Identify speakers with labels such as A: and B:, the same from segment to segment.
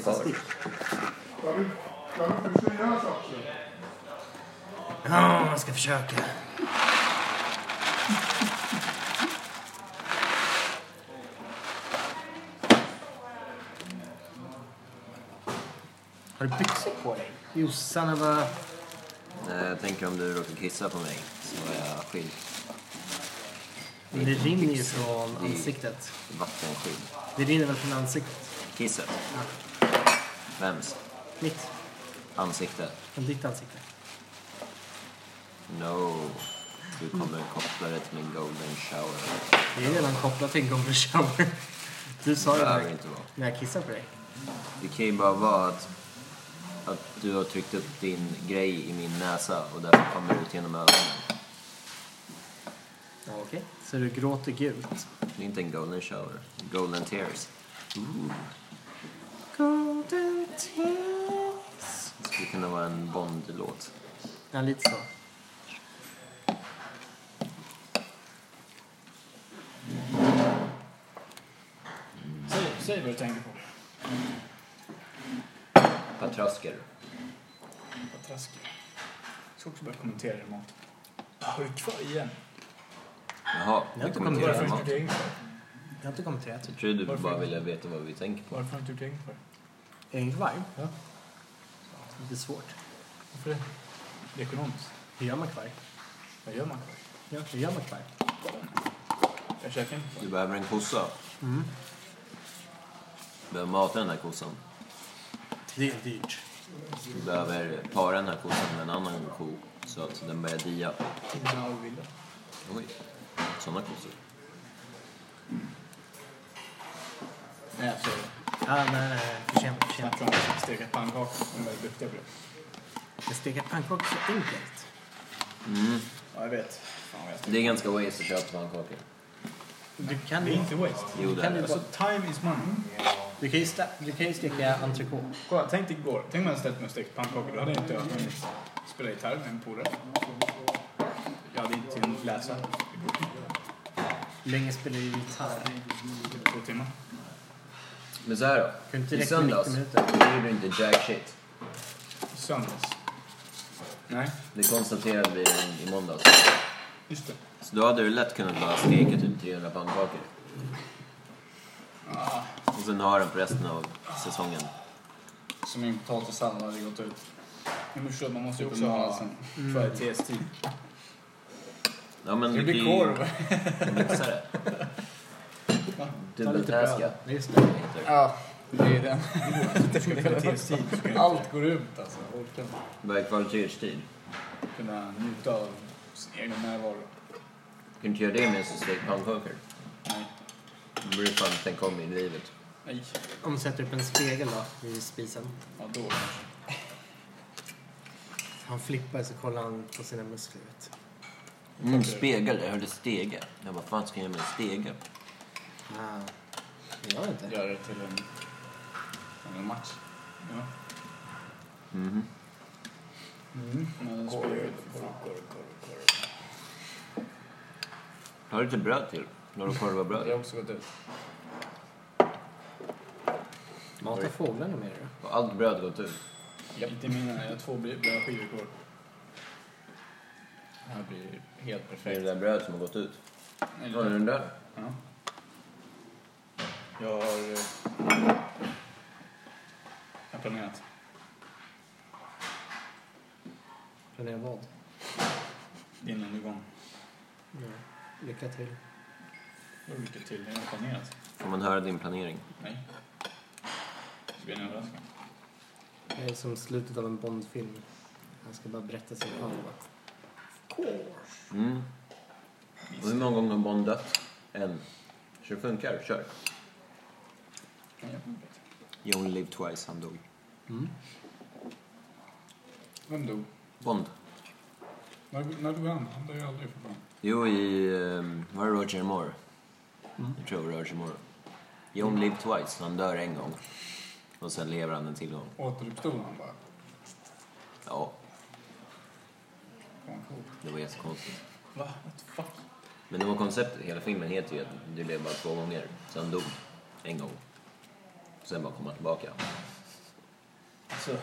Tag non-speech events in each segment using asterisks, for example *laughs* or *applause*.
A: för.
B: Ja, man ska försöka. Har du byxor på dig? Jossan och vad...
A: Eh, Jag tänker om du råkar kissa på mig så är jag skild.
B: Men Det rinner ju från ansiktet.
A: Vattenskild.
B: Det rinner väl från ansiktet?
A: Kisset. Vems?
B: Mitt.
A: Ansikte?
B: Från ditt ansikte.
A: No. Du kommer koppla det till min golden shower.
B: Det är redan kopplat till Golden Shower. Du sa
A: Det
B: det
A: behöver
B: när,
A: inte vara.
B: när jag kissade på dig.
A: Det kan ju bara vara att, att du har tryckt upp din grej i min näsa och därför kommer det ut genom ögonen.
B: Ja, okej. Så du gråter gult.
A: Det är inte en golden shower. Golden tears.
B: Golden tears.
A: Det skulle kunna vara en Bond-låt.
B: Ja, lite så.
C: Säg, säg vad du tänker på.
A: Patrasker.
C: Vad traskigt. Jag ska också börja kommentera din mat. Har du kvar igen?
A: Jaha,
B: Jag har
A: du
B: inte
A: kommenterar
B: kommenterat
C: Varför har du
A: mat.
C: inte gjort egen kvar?
B: Jag har inte kommenterat.
A: Jag tror du
C: Varför
A: bara
C: inte?
A: ville veta vad vi tänker på.
C: Varför har du inte gjort egen kvar?
B: Egen kvarg?
C: Ja.
B: Lite svårt.
C: Varför det? Det är ekonomiskt.
B: Hur gör man kvarg?
C: Vad gör man kvar?
B: Ja, hur gör man kvarg?
C: Jag käkar inte kvar.
A: Du behöver en kossa.
B: Mm.
A: Du behöver mata den här kossan.
B: Det är dyrt.
A: Du behöver para den här kossan med en annan ko så att den börjar dia.
C: Dina avbilder.
A: Oj, sådana kossor.
C: Nej, alltså, så är det.
B: Ja, eh, nej, nej, för sent, för sent.
C: Snacka om steka pannkakor. De är duktiga på det.
B: Men steka pannkakor är så enkelt.
C: Ja, jag vet. Fan vad jag
A: Det är ganska waste att köpa pannkakor.
B: Du kan
C: Det är
B: ju,
C: inte waste.
A: Jo, det
B: Kan
A: är
B: du
A: det.
C: Alltså, time is money.
B: du kan ju, sta, du kan ju steka entrecote.
C: Kolla, tänk dig igår. Tänk om jag hade ställt mig och stekt pannkakor. Då hade jag inte hunnit spela gitarr med en polare. Jag hade inte hunnit läsa
B: Hur länge spelar du gitarr?
C: i två timmar.
A: Men så här då.
B: Kan inte
A: I
B: räcka med 90
A: söndags,
B: minuter?
A: då gjorde du inte jack shit.
C: I söndags. Nej,
A: Det konstaterade vi i- i måndags.
C: just det.
A: Så då hade du lätt kunnat bara steka typ 300 pannkakor.
B: Ah.
A: Och sen ha den på resten av säsongen.
D: Som min potatissallad hade gått ut.
C: Men förstår, man måste ju
D: Typ
C: också
D: en
C: ha
D: månad sedan.
B: Mm.
C: kvalitetstid.
A: Ja, men
C: Det
A: du
C: blir
A: kan ju
C: korv.
A: mixa
B: *laughs*
A: det.
B: Ta lite
A: Dubbeltaska.
B: bröd. Just det.
D: Ja, det är den.
C: Du ska ha kvalitetstid. Du ska
D: Allt går ut alltså. Jag orkar inte
A: Vad är kvalitetstid?
C: kunna njuta av sin egen närvaro.
A: Du kan inte göra det medan du steker pannkakor.
C: Nej.
A: Då borde du fan tänka om i livet.
C: Nej.
B: Om du sätter upp en spegel då, i spisen.
C: Ja, då kanske.
B: Han flippar så kollar han på sina muskler. vet du.
A: Mm, spegel. Jag hörde stege. Jag bara, fan ska jag göra med en stege?
B: Ah. Det gör jag inte.
D: göra det till en, en match.
C: Ja.
A: Mhm.
C: Mm. Men
D: Korv,
C: spelar ju-
D: korv, korv, korv, korv.
A: Ta lite bröd till. När du korvar
D: Det har
A: bröd.
D: också gått ut.
B: Mata fåglarna med det då.
A: Och allt bröd har gått ut.
C: Inte mina. Jag har två blöda skivor kvar.
D: Det här blir helt
A: Det är det
D: perfekt.
A: där bröd som har gått ut.
C: Nej,
A: Har du den där?
C: Ja. Jag har... eh, Jag har planerat.
B: Planerar vad?
C: Din undergång.
B: Ja. Lycka till.
C: Vad lycka till. Jag har planerat.
A: Får man höra din planering?
C: Nej. Det blir en överraskning.
B: Det är som slutet av en Bondfilm. Han ska bara berätta sin halva.
A: Mm. Och hur många gånger har Bond dött? En. Så det funkar. Kör.
C: Nej, jag kommer
A: Mm.
C: inte.
A: You only live twice. Han dog.
B: Mm.
C: Vem dog?
A: Bond.
C: När, när dog han? Han dör ju aldrig för fan.
A: Jo, i... ehm, Var det Roger Moore?
B: Mm.
A: Jag tror Roger Moore. You
C: Mm.
A: only live twice. Han dör en gång. Och sen lever han en till gång.
C: Återuppstod han bara?
A: Ja,
C: Fan, cool.
A: det var jättekonstigt.
C: Va? What the fuck?
A: Men det var konceptet. Hela filmen heter ju att du lever bara två gånger. Så han dog en gång. Sen bara kom han tillbaka.
C: Så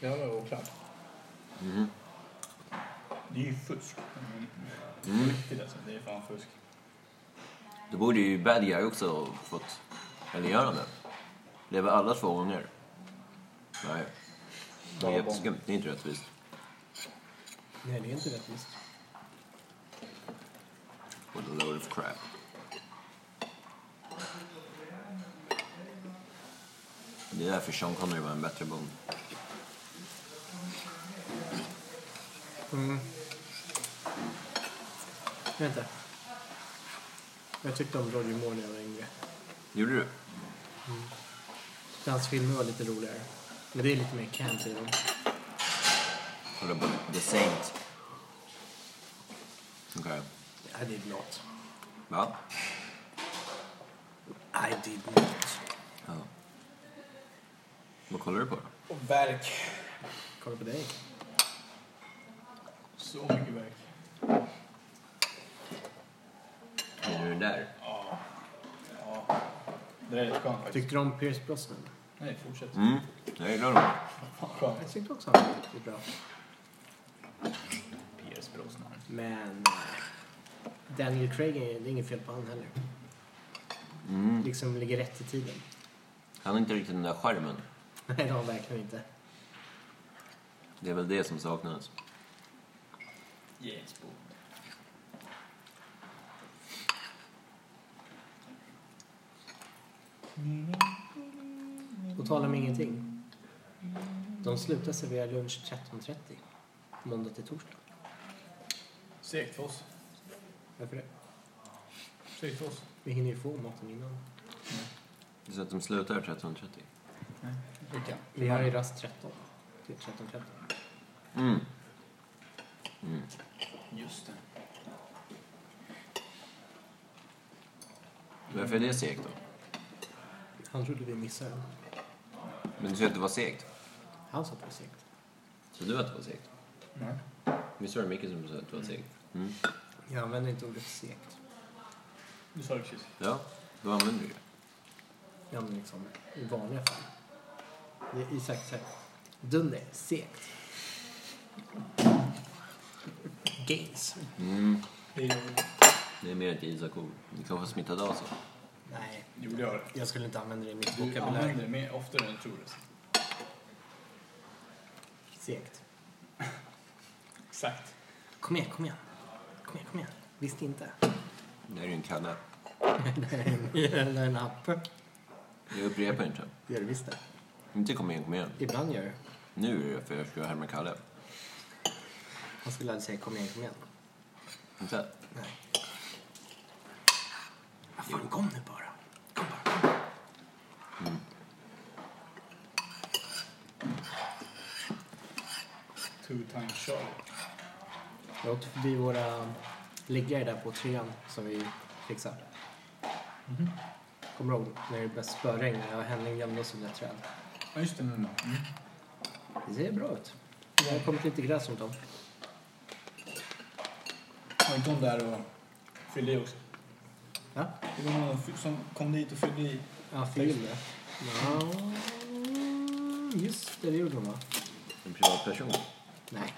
D: Jag var oklart.
A: Mhm.
C: det är ju fusk.
A: Mm.
C: Riktigt alltså. Det är fan fusk.
A: Då borde ju Bad Guy också fått... Eller gör han det? Lever alla två gånger? Nej. Det är jätteskumt. Det är inte rättvist.
B: Nej, det är inte rättvist.
A: What a load of crap. Det är därför Sean Connery var en bättre Bond.
B: Mm. Jag vet inte. Jag tyckte om Roger Moore när jag var yngre.
A: Gjorde du?
B: Så Hans filmer var lite roligare. Men det är lite mer camp i dem.
A: Kolla på The Saint. Okej.
B: I did not.
A: Va?
B: I did not.
A: Ja. Vad kollar du på då?
C: Och verk.
B: Kolla på dig.
C: Så mycket verk.
A: Är du den där?
C: Ja. Ja. Det där är rätt skönt faktiskt.
B: Tyckte du om Pierce Brosnan?
C: Nej, fortsätt.
A: Mm, jag gillar dem.
C: Skönt.
B: Jag tyckte också han var lite bra.
C: P.S. Brosnan.
B: Men eh, Daniel Craig, är- det är inget fel på han heller.
A: Mm.
B: Liksom ligger rätt i tiden. *laughs*
A: Han har inte riktigt den där skärmen.
B: Nej, det har han verkligen inte.
A: Det är väl det som saknas.
C: James Bond.
B: På tal om ingenting. De slutar servera lunch 13.30. Måndag till torsdag.
C: Segt för oss.
B: Varför det?
C: Segt för oss.
B: Vi hinner ju få maten innan.
A: Det är Så att de slutar 13.30.
C: Vilka?
B: Vi har ju rast 13. Till 13.30.
A: Mm. Mm.
C: Just det.
A: Varför är det segt då?
B: Han trodde vi missade den.
A: Men du sa att det var segt.
B: Han sa att det var segt.
A: Så du att det var segt?
C: Nej.
A: Visst var det Micke som sa att det var segt? Mm.
B: Jag använder inte ordet segt.
C: Du sa det precis.
A: Ja, då använder du det.
B: Jag använder liksom i vanliga fall. Det är Isak säger. Dunder, segt. Gains.
A: Mm.
C: Det gjorde-
A: Det är mer ett Isak-ord. Det kanske har smittat av sig.
B: Nej,
C: gjorde jag.
B: jag skulle inte använda det i mitt
C: Du
B: vokabulär.
C: använder det mer oftare än du tror. det.
B: Segt.
C: Exakt.
B: Kom igen, kom igen. Kom igen, kom igen. Visst inte.
A: Det här är ju en kanne.
B: Eller en app.
A: Jag upprepar inte.
B: Det gör du visst det.
A: Inte kom igen, kom igen.
B: Ibland gör det.
A: Nu är det för jag ska härma Kalle.
B: Han skulle aldrig säga kom igen, kom igen.
A: Inte?
B: Nej. Vad fan, kom nu bara. Kom bara, kom.
C: Two times Charlie.
B: Jag åkte förbi våra liggare där på trean som vi fixade. Mhm. Kommer du ihåg när det började spöregna? Jag och Henning gömde oss under ett träd.
C: Ja, just det. Mm.
B: Det ser bra ut. Det har kommit lite gräs runt om.
C: Var inte hon där och fyllde i också?
B: Ja,
C: Det var någon fy- som kom dit och fyllde i.
B: ja fyll det. Ja, just det, det gjorde hon va?
A: En privatperson.
B: Nej,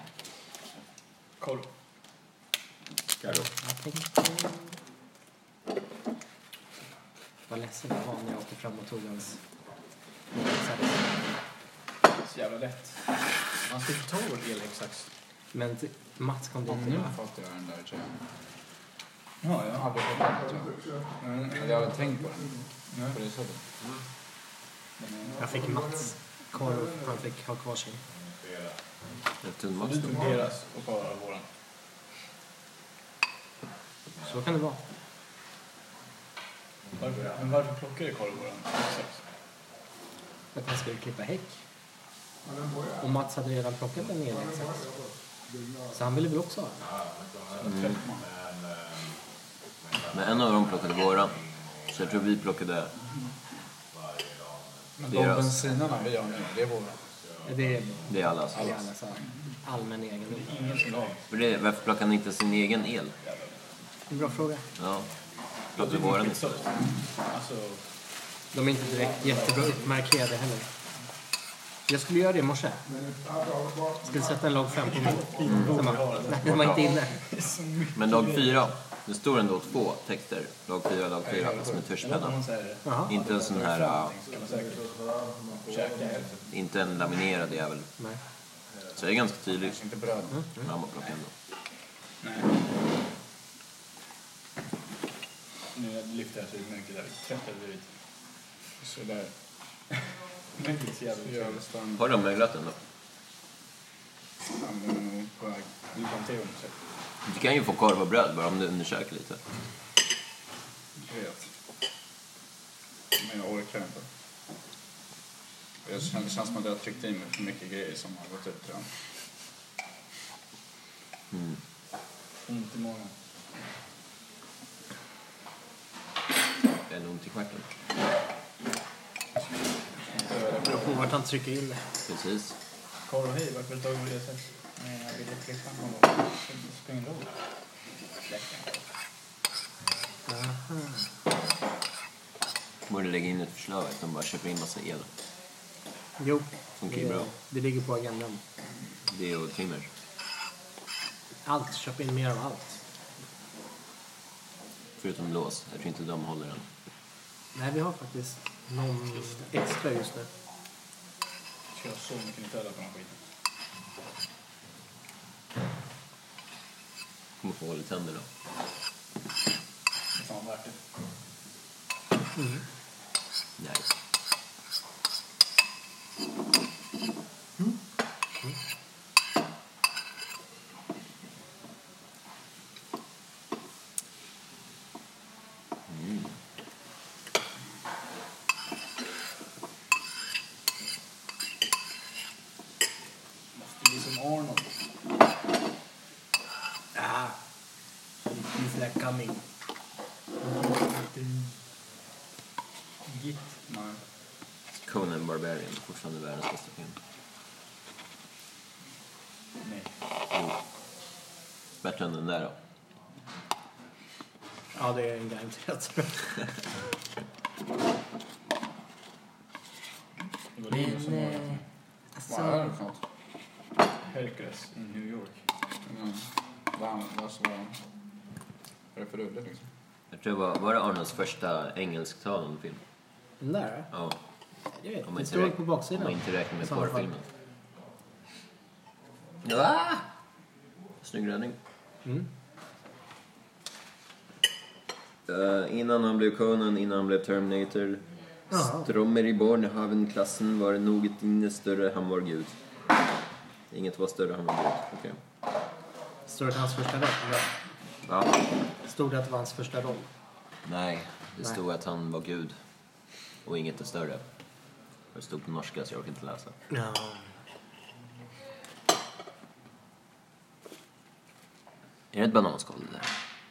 C: Korv.
A: Carro.
B: jag tänkte... Vad ledsen jag var när jag åkte fram och tog hans...
C: Så jävla lätt. Man ska inte ta vår elhäcksax.
B: Men t- Mats kom dit
D: Ja,
B: och
D: nu
B: bara,
D: fattar jag den där tjejen.
C: Ja,
D: Jag
C: ja.
D: hade hört den, tror
C: Mm.
D: jag. Eller jag hade tänkt på den.
C: Nej.
D: På det sättet.
C: eh,
B: jag fick Mats korv, han fick ha kvar sin.
A: En tunn
C: Och
A: mat.
C: du tog deras och bara våran.
B: Så kan det vara.
C: Varför? Men varför plockade Karl våran elhäcksax?
B: För att han skulle klippa häck. Och Mats hade redan plockat en elhäcksax. Så han ville väl också ha den.
C: Mm.
A: Men en av dem plockade våran. Så jag tror vi plockade...
D: Men de
A: Deras.
D: bensinarna vi har nu, det är våra.
B: Det är
A: Det är allas.
B: det är alla så här allmän egendom.
C: Ingen som la.
A: För det, varför plockade ni inte sin egen el?
B: En bra fråga.
A: Ja. Plockade våran
C: Pizza.
A: istället.
C: Alltså,
B: De är inte direkt jättebra uppmarkerade heller. Jag skulle göra det i morse. Skulle sätta en logg fem på min. Sen bara, nej, den var inte inne.
A: Men dag fyra, det står ändå två texter. Dag fyra, dag fyra, som en tuschpenna.
B: Jaha.
A: Inte en sån här, äh,
C: Kan man säkert käka hälften.
A: inte en laminerad jävel.
B: Nej.
A: Så jag är ganska tydlig.
D: Inte bröd.
A: Mamma plockade ändå.
C: Nej. Nu lyfter jag så mycket där. Trött har jag blivit.
D: Så där.
C: Men det är så jävla
D: Jag
C: trevligt.
D: stannar
A: Har de möglat ändå?
D: nog på väg.
C: Du kan te om sig.
A: Du kan ju få korv och bröd bara om du undersöker lite.
D: Jag vet. Men jag orkar inte. Jag känner, det känns som att jag har tryckt i mig för mycket grejer som har gått ut redan.
C: Ont i magen.
A: Eller ont i stjärten.
B: Det beror på vart han trycker in det.
A: Precis.
C: Korv och hy, varför tog du det sen? Nej, jag ville klippa någon gång. Springroll.
A: Borde lägga in ett förslag att de bara köper in massa el.
B: Jo,
A: Okej,
B: det,
A: bra.
B: det ligger på agendan.
A: Det och trimmer.
B: Allt, köp in mer av allt.
A: Förutom lås. Jag tror inte de håller den.
B: Nej, vi har faktiskt någon extra just nu.
C: Kör så mycket Nutella på den skiten.
A: Kommer få hål i tänderna.
C: Det är fan värt det.
A: Nej.
C: Måste bli som Arnold.
B: Ah, he's like coming.
C: Git.
D: Nej.
A: Conan Barbarian. Fortfarande världens bästa film.
C: Nej.
A: Jo. Mm. Bättre än den där då.
B: Ja, det är en garanterat.
C: Det var Linus som var
B: eh,
D: eh,
C: det.
D: Vad är det för något?
C: Hercules i New York.
D: Mm. Vad vad så- vad är det för rulle liksom?
A: Jag tror det var, var det Arnolds första engelsktalande film?
B: Den där?
A: Ja.
B: Jag vet,
A: Om man
B: det
A: inte
B: står
A: räknar-
B: på
A: Om man
B: baksidan.
A: inte räknar
B: I
A: med
B: sådana fall.
A: porrfilmen. Ah! Snygg räddning.
B: Mm.
A: Eh, innan han blev Conan, innan han blev Terminator.
B: Ja.
A: Strömmer i Bornhaven-klassen var det något inne större, han var Gud. Inget var större, han var Gud. Okej.
B: Står det att hans första roll? Ja.
A: Va?
B: Stod det att det var hans första roll?
A: Nej, det
B: Nej.
A: stod att han var Gud. Och inget är större. Det stod på norska så jag orkar inte läsa.
B: Ja.
A: Är det ett bananskal det där?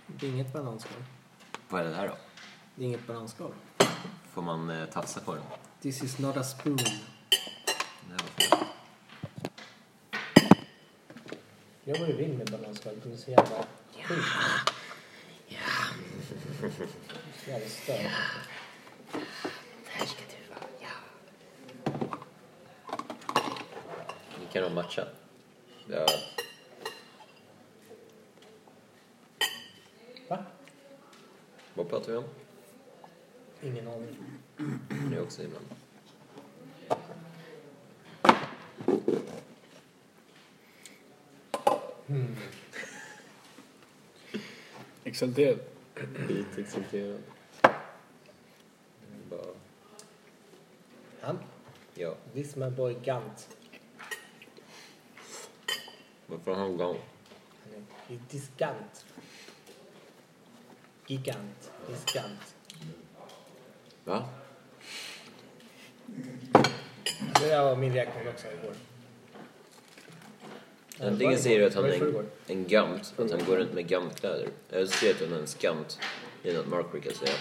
B: Det är inget bananskal.
A: Vad är det där då?
B: Det är inget bananskal.
A: Får man eh, tafsa på den?
B: This is not a spoon.
A: Nej, vad fan.
B: Gör vad du vill med bananskal. Du är så jävla sjuk. Ja. Jävla störd.
A: Ni kan de matcha. Ja.
B: Va?
A: Vad pratar vi om?
B: Ingen aning.
A: Det är också ibland.
C: Exalterad.
A: Lite exalterad. Bara,
B: Han?
A: ja.
B: This my boy Gant.
A: Varför har han gång?
B: Han är- he- This Gant. Gigant. This Gant.
A: Va?
B: Det där var min reaktion också igår.
A: Antingen säger du att han
B: Vad
A: är
B: är det
A: en, en gamt, att han går runt med gamtkläder. Eller så säger du att han är en skamt. Det är något Mark brukar säga.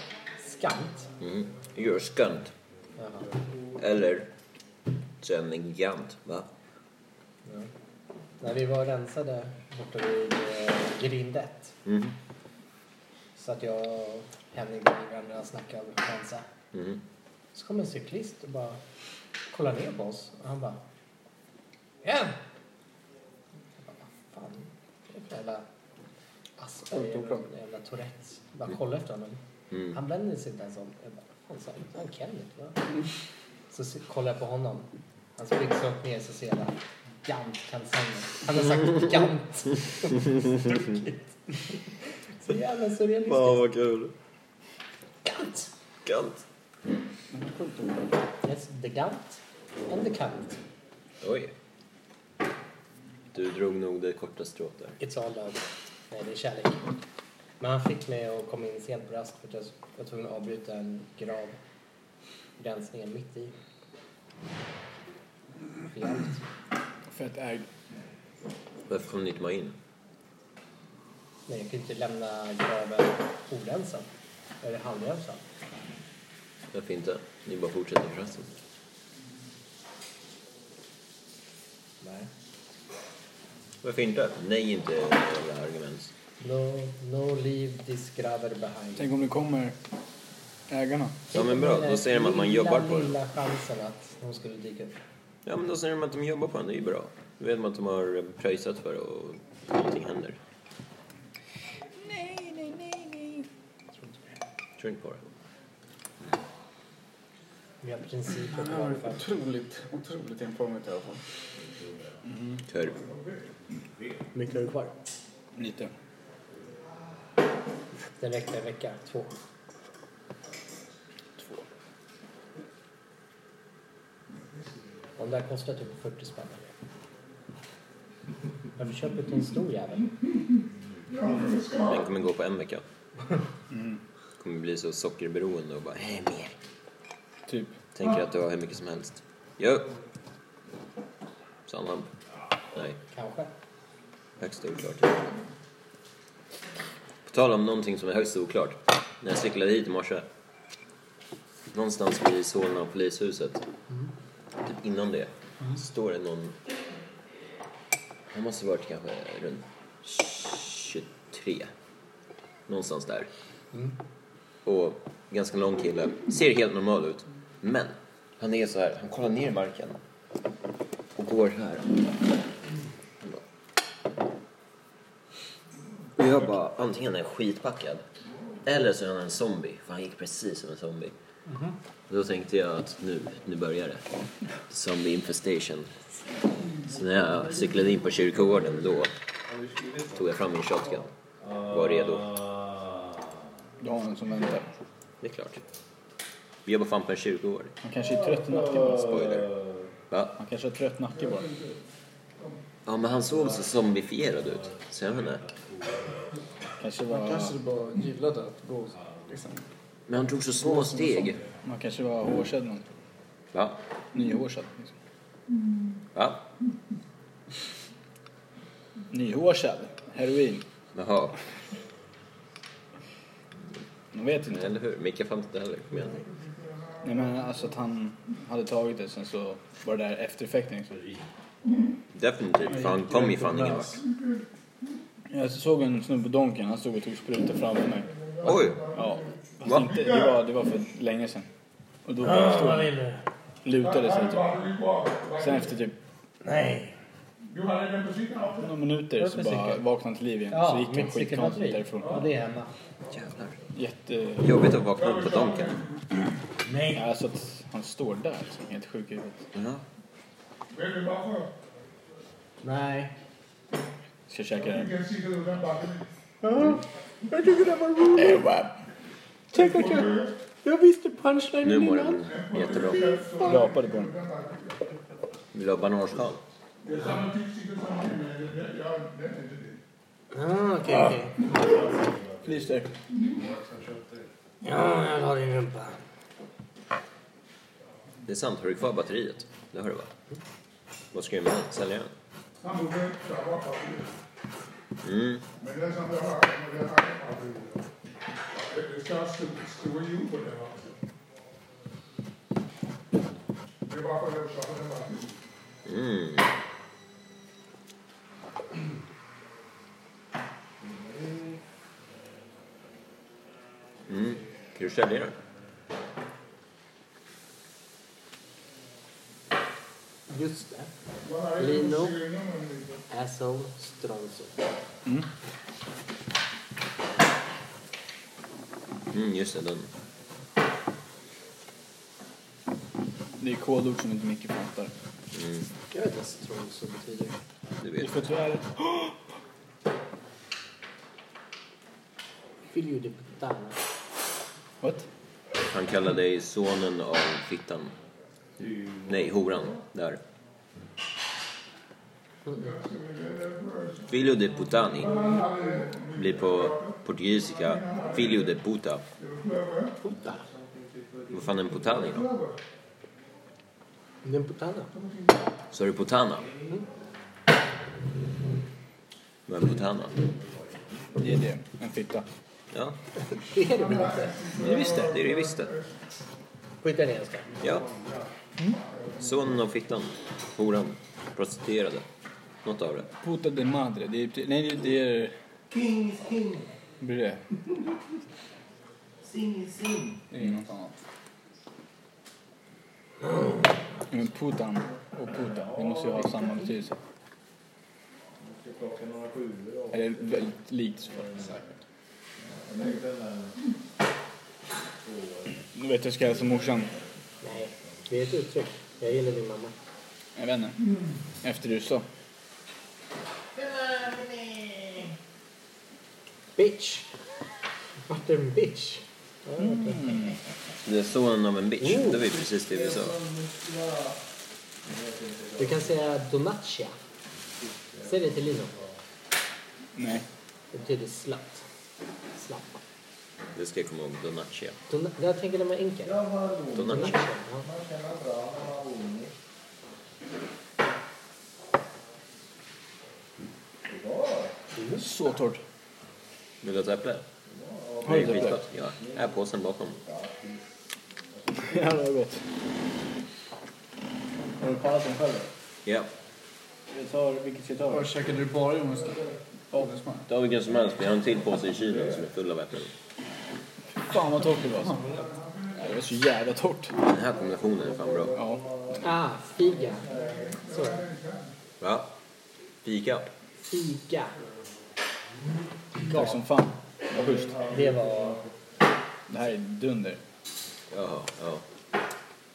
B: Skant?
A: Mm. You're a skunt.
B: Jaha.
A: Eller så är han en gamt, va?
B: Ja. När vi var rensade borta vid eh, grind 1
A: Mhm.
B: så att jag och Henning och vi andra snackade om att rensa.
A: Mhm.
B: Så kom en cyklist och bara kollade ner på oss. Och han bara... Igen! Jag bara, vad fan är det för jävla Asperger och jävla Tourettes? Jag bara kollade efter honom.
A: Mm.
B: Han vände sig inte ens om. Jag bara, fan sa han- sa han Kenneth? Va? Så se- kollar jag på honom. Han spricker sig upp ner så ser jag bara, Gant kan säga. Han har sagt Gant. *laughs* Druckit. Så jävla surrealistiskt.
E: Fan vad kul.
B: Gant.
E: Gant.
B: Yes, the Gant and the Cunt.
A: Oj. Du drog nog det korta strået där.
B: It's all love. Nej, det är kärlek. Men han fick mig att komma in sent på rast för att jag var tvungen att avbryta en grav rensningen mitt i. För jävligt.
C: Fett ägd.
A: Varför kom ni inte med in?
B: Nej, jag kunde inte lämna graven orensad. Eller halvrensad.
A: Varför inte? Ni bara fortsätter frasen.
B: Nej.
A: Varför inte? Nej, inte jävla argument.
B: No, no leave this graver behind.
C: Tänk om det kommer ägarna.
A: Ja, men bra. Då säger de att man jobbar på
B: den.
A: det.
B: lilla chansen att hon skulle dyka upp.
A: Ja, men då säger de att de jobbar på den. Det är ju bra. Då vet man att de har pröjsat för det och någonting händer. Nej, nej, nej, nej. Tror inte på det.
B: Vi har principer
D: Den
B: för
D: här var
B: varför.
D: otroligt, otroligt informativt i alla fall.
A: Törv.
B: Mycket är kvar.
C: Lite.
B: Den räckte en vecka, två.
D: Två.
B: Om det här kostar typ 40 spänn. Har du köpt en stor jävel?
A: Den kommer gå på en vecka. Kommer bli så sockerberoende och bara, hej mer.
C: Typ.
A: Tänker att du har hur mycket som helst. Jo! Sa han lamp. Nej,
B: Kanske.
A: högst oklart. På tal om någonting som är högst oklart. När jag cyklade hit i morse. Någonstans vid Solna polishuset. Typ innan det. så Står det någon... Det måste varit kanske runt 23. Någonstans där. Och ganska lång kille. Ser helt normal ut. Men han är så här. Han kollar ner i marken. Och går här. Och jag bara, antingen är jag skitpackad. Eller så är han en zombie. För han gick precis som en zombie. Och då tänkte jag att nu, nu börjar det. Zombie infestation. Så när jag cyklade in på kyrkogården då tog jag fram min shotgun. Var redo.
C: Du har någon som väntar.
A: Det är klart. Vi jobbar fan på en kyrkogård.
C: Han kanske är trött i nacken bara.
A: Spoiler. Va?
C: Han kanske är trött nacke bara.
A: Ja, men han såg så zombifierad ut. Så jag vet inte.
C: Kanske var,
D: Kanske du bara gillade att gå liksom.
A: Men han tog så små steg.
C: man kanske var hårsedd någon.
A: Va?
C: Nyhårsad. Liksom.
A: Va?
C: Nyhårsad. Heroin.
A: Jaha.
C: Man vet inte.
A: Eller hur? Micke fanns inte heller. Kom igen.
C: Nej men alltså att han hade tagit det sen så var det där eftereffekten. Liksom.
A: Definitivt. För han kom ju fan ingen vart.
C: Jag såg en snubbe på Donken, han stod och tog sprutor framför mig.
A: Oj!
C: Ja. Fast
A: Va?
C: inte, det, var, det var för länge sedan. Och då
A: Ah,
C: stod han lutade sig typ. Sen efter typ
B: Nej.
C: några minuter så
B: Varför
C: bara
B: cykel?
C: vaknade han till liv igen. så
B: Ja,
C: gick han
B: mitt
C: skitkonstigt
B: cykelbatteri.
C: därifrån.
B: Och det är hemma.
A: Jävlar.
C: Jätte...
A: Jobbigt att vakna upp på Donken.
C: Ja, alltså att han står där liksom, helt sjuk i huvudet.
A: Ja.
B: Nej.
C: Ska käka den.
B: Jag tycker det var roligt. Tänk att jag... Jag visste
A: Nu
B: punchlinen
A: mår den jättebra.
C: Rapade på den.
A: Vill du ha bananskal?
B: Ah, okej, okej.
C: Klister.
B: Ja, jag tar din rumpa.
A: Det är sant. Har du kvar batteriet? Det har du va? Vad ska du med den? Sälja den? Mm. Mm. Mm. Kan du sälja den?
F: Just det. Lino. Asshole. Stronzo.
A: Mm, just det, den.
C: Det är kodord som inte mycket fattar.
B: Jag vet inte vad stronzo betyder.
A: Du
C: Vi
A: vet.
C: får tyvärr...
B: Figlio di puttana.
C: What?
A: Han kallar dig sonen av fittan. Nej, horan. Där. Filho de putani blir på portugisiska filho de puta.
B: Puta.
A: Vad fan är en putani då?
B: Det är en puttana.
A: Så är det putana. Vad är en putana?
C: Det är det. En fitta.
A: Ja,
B: Det är det väl inte?
A: det visste det. är Det visste
B: På italienska.
A: Ja. Sonen av fittan. Horan. Prostituerade. Något av det.
C: Puta de madre. Det är... typ- Nej, det är... Det är... Blir det? Det är något annat. Men putan och puta, det måste ju ha samma betydelse. Eller väldigt likt så. Nu vet jag ska jag som morsan.
B: Nej, det är ett uttryck. Jag gillar din mamma.
C: Jag vet inte. Efter du sa.
B: Bitch! Vart är en bitch?
A: Det är sonen av en bitch. Det var ju precis det vi sa.
B: Du kan säga donatja. Säg det till Lino.
C: Nej.
B: Det betyder slatt. Slapp.
A: Det ska jag komma ihåg. Donaccia.
B: Dona- jag tänker den var enkel.
A: Donaccia.
B: Donatja. Ja.
C: Så torrt.
A: Vill du ha ett äpple?
C: Har du ett äpple?
A: skitgott. Ja, här är påsen bakom.
C: Jävlar vad gott.
G: Har du parat den själv?
A: Ja,
G: Vi tar, vilket ska vi ta?
D: Käkade du bara jordnötssmör? Avelsmör?
A: ta vilken som helst. Vi har en till påse i kylen som är full av äpplen.
C: Fan vad torrt det var alltså. Ja, Det var så jävla torrt.
A: Den här kombinationen är fan bra.
C: Ja.
B: Ah, figa. Så.
A: Va? Fika?
B: Figa.
C: Tack som fan. Vad schysst.
B: Det var...
C: Det här är dunder.
A: Jaha, ja.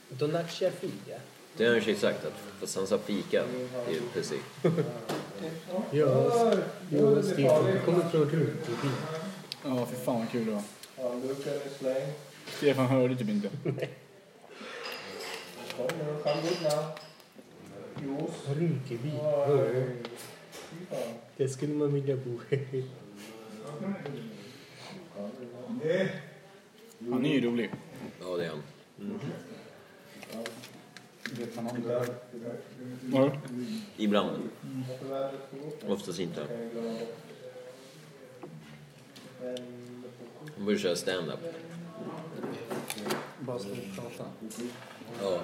B: Donatja figa.
A: Det har jag i och för sig sagt att, fast han sa fika. Det är ju precis.
B: Just, just det. Jag kommer från Rinkeby.
C: Ja, för fan vad kul det var.
G: Ja, Luca är släng.
C: Stefan hörde typ inte.
G: Kom nu, kom dit nu. Jo,
B: Rinkeby.
G: fy fan.
B: Det skulle man vilja bo i.
C: Han är ju rolig.
A: Ja, det är han.
C: Ja.
A: Ibland. Oftast inte. Han borde köra stand-up.
D: Bara sluta prata.
A: Ja.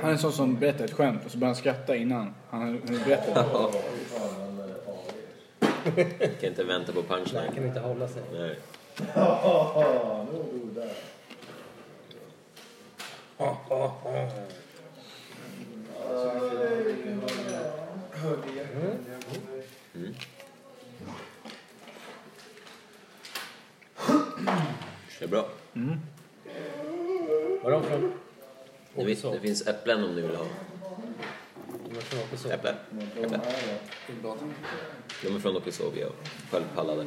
C: Han är en sån som berättar ett skämt och så börjar han skratta innan han han berättar.
A: Kan inte vänta på
B: Han
A: punchline.
B: kan inte hålla sig.
A: Nej.
G: Ja, nu är du där.
A: Det är bra.
B: Var de från?
A: Det, vis- det finns äpplen om du vill ha.
B: De var från Åkesson.
A: Äpple. Äpple. De är från Okusovia och sköldpaddade.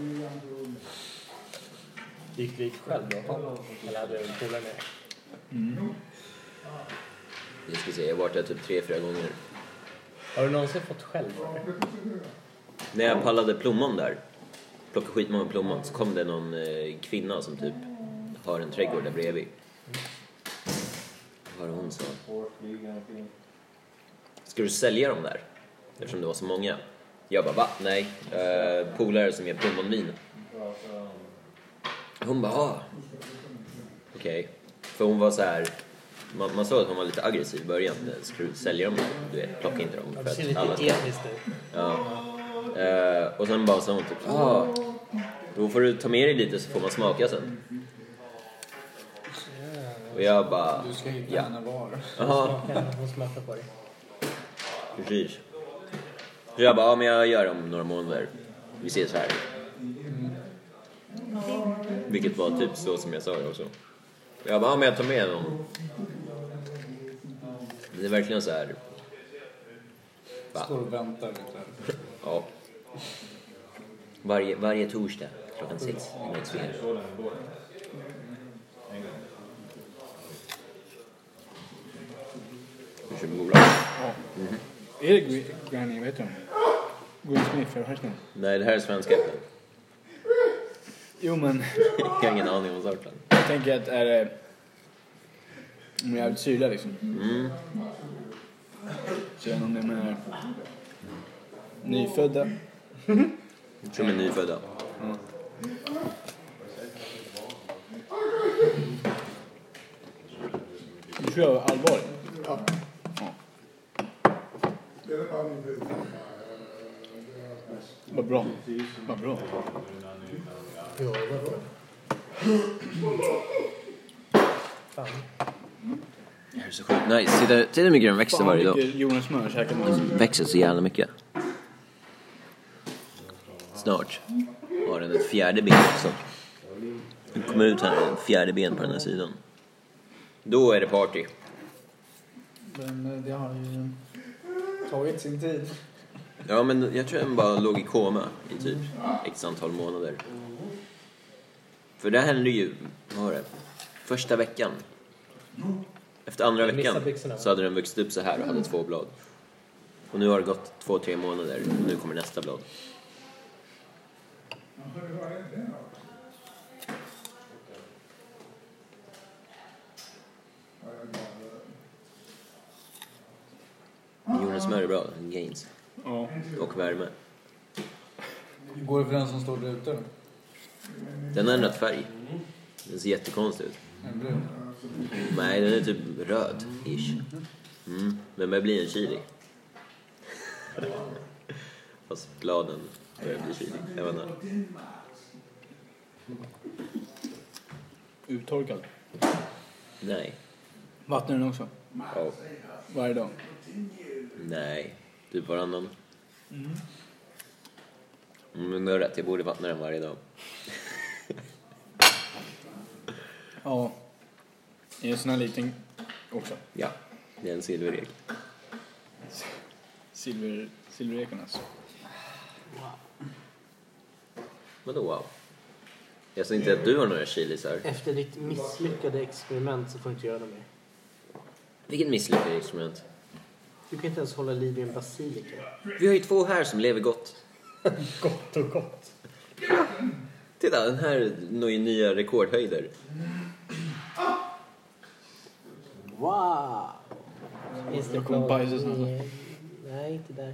B: Gick du dit själv då? Eller hade du en polare med dig?
A: Jag ska säga, jag har varit där typ tre, fyra gånger.
B: Har du någonsin fått själv?
A: När jag pallade plommon där, plockade skitmånga plommon, så kom det någon eh, kvinna som typ har en trädgård där bredvid. Vad var det hon sa? Ska du sälja dem där? Eftersom det var så många. Jag bara, va? Nej. Eh, polare som gör plommonvin. Hon bara, ah. Okej. För hon var så här... Man, man såg att hon var lite aggressiv i början. Ska du sälja dem? Du vet, plocka inte dem.
B: Det
A: för
B: ser
A: att alla ska
B: lite etiskt ut.
A: Ja. Eh, och sen bara sa hon typ ah, då får du ta med dig lite så får man smaka sen. Och jag bara,
H: Du ska hitta
A: Ja.
H: henne var.
A: jaha,
B: Smaken, hon smakar på dig.
A: precis. Så jag bara, ja men jag gör det om några månader. Vi ses här. Vilket var typ så som jag sa det också. Jag bara, ja men jag tar med dem. Det är verkligen så här, Va?
H: Står och väntar lite.
A: ja. Varje, varje torsdag klockan sex möts vi här. Vi kör med god lag.
C: Är det Gr- Granny, vad heter hon? Gwen Smith, eller vad heter hon?
A: Nej, det här är svenska äpplen.
C: Jo men,
A: Jag har ingen aning om sorten.
C: jag tänker att är det... Hon är jävligt syrlig liksom. Så jag vet inte om det menar nyfödda.
A: Som är nyfödda.
C: Du tror jag var allvarlig. Ja. Vad bra. Vad bra.
B: Jo, det var bra. Fan.
A: Det här är så sjukt nice. Titta, titta hur mycket den växer varje dag.
C: Jonas smör käkar man.
A: Växer så jävla mycket. Snart har den ett fjärde ben också. Det kommer ut här ett fjärde ben på den här sidan. Då är det party.
H: Men eh, det har ju tagit sin tid.
A: Ja, men jag tror den bara låg i koma i typ x antal månader. För det hände ju, vad var det, första veckan. Efter andra
B: Jag missade
A: veckan
B: byxorna.
A: så hade den vuxit upp så här och hade två blad. Och nu har det gått två, tre månader och nu kommer nästa blad. Jonas smör är bra, gains.
C: Ja.
A: Och värme.
H: Går det för den som står där ute?
A: Den har ändrat färg. Den ser jättekonstig ut.
H: En brun?
A: Nej, den är typ röd-ish. Mm. Men börjar bli en chili. *laughs* Fast bladen börjar bli chili. Jag vet inte.
C: Uttorkad.
A: Nej.
C: Vattnar den också?
A: Ja.
C: Varje dag?
A: Nej. Typ varannan. Mm. Men du har rätt, jag borde vattna den varje dag.
C: Ja. I en sån här liten också.
A: Ja, det är en silverregel.
C: Silver, alltså. silverekornas.
A: Vadå wow? Jag sa inte att du har några chilisar.
B: Efter ditt misslyckade experiment så får du inte göra det mer.
A: Vilket misslyckat experiment.
B: Du kan inte ens hålla liv i en basilika.
A: Vi har ju två här som lever gott.
B: Gott och gott.
A: Titta, den här når ju nya rekordhöjder.
B: Wow! Finns det
C: Då kommer
B: blad-
C: bajset snart.
B: Nej, Nej, inte där.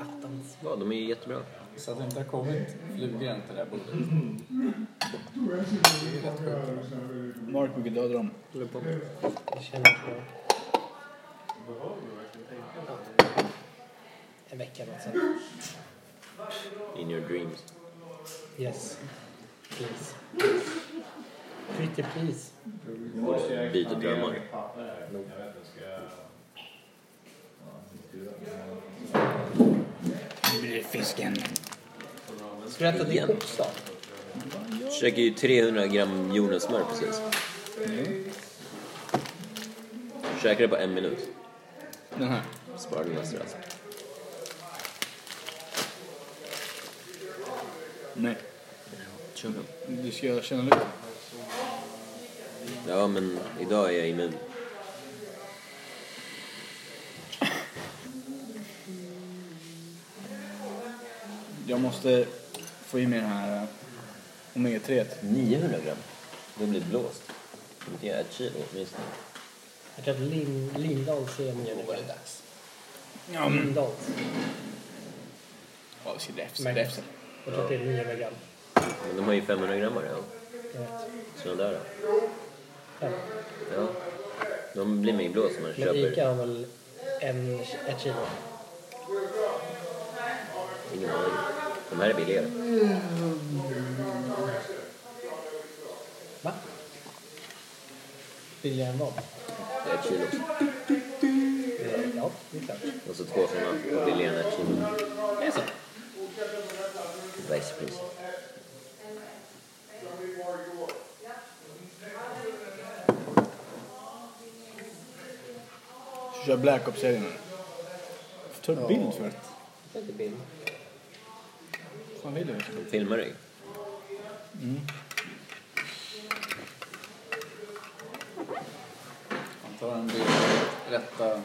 B: Attans.
A: Ja, de är ju jättebra.
H: Så att det inte har kommit flugor än till det här bordet.
C: Mark brukar döda dem.
B: Jag känner inte bra. Ja. En vecka eller något sånt.
A: In your dreams.
B: Yes. Please. Pretty please.
A: Både byter drömmar.
C: Fisken.
B: Ska du äta din
A: Igen.
B: koksa?
A: Käkar ju 300 gram jordnötssmör precis. Käkade på en minut.
C: Den här.
A: Sparade massor alltså.
C: Nej.
A: Kör den.
C: Du ska känna lite.
A: Ja, men idag är jag immun.
C: Jag måste få i mig den här eh, omega-3.
A: 900 gram? Då blir det blåst. Det är ett kilo åtminstone.
B: Jag tror att Lin- Lindahl ser mig. Då var det dags.
C: Ja, men.
B: Lindahl.
C: Ja, vi ska räfsa.
B: Men-
C: räfsa.
B: Jag tror att det är 900 gram.
A: Men de har ju 500 gram ja.
B: Jag vet.
A: Sådana där.
B: Fem.
A: Ja. De blir mer blåst när man
B: Men
A: köper.
B: Ica har väl en, ett kilo?
A: Ingen aning. De här är billigare.
B: Va? Billigare än vad?
A: Det är ett kilo.
B: Ja, det är klart.
A: Och så två sådana på billigare än ett kilo.
B: Det är så.
A: Växtpris.
C: Kör Black Ops-serien nu. Ta en bild för att...
B: Det är inte bild.
C: Fan vill du?
A: De filmar dig.
I: Han tar en bild i ditt rätta...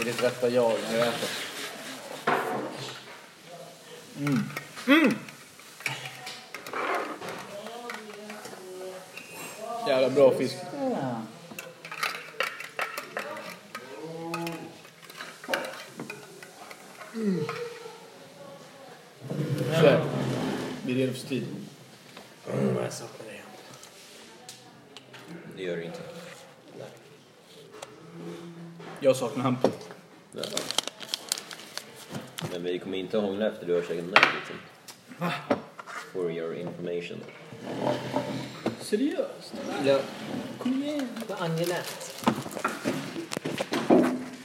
I: I ditt rätta jag när du äter.
C: Jävla bra fisk. Sådär. Vi är redo för strid.
B: Mm, jag saknar det.
A: Det gör det inte.
C: Jag saknar Hampus.
A: Ja. Men vi kommer inte att hångla efter du har käkat nuggeten. For your information.
C: Seriöst?
B: Ja.
C: Kom igen.
B: Vad angenämt.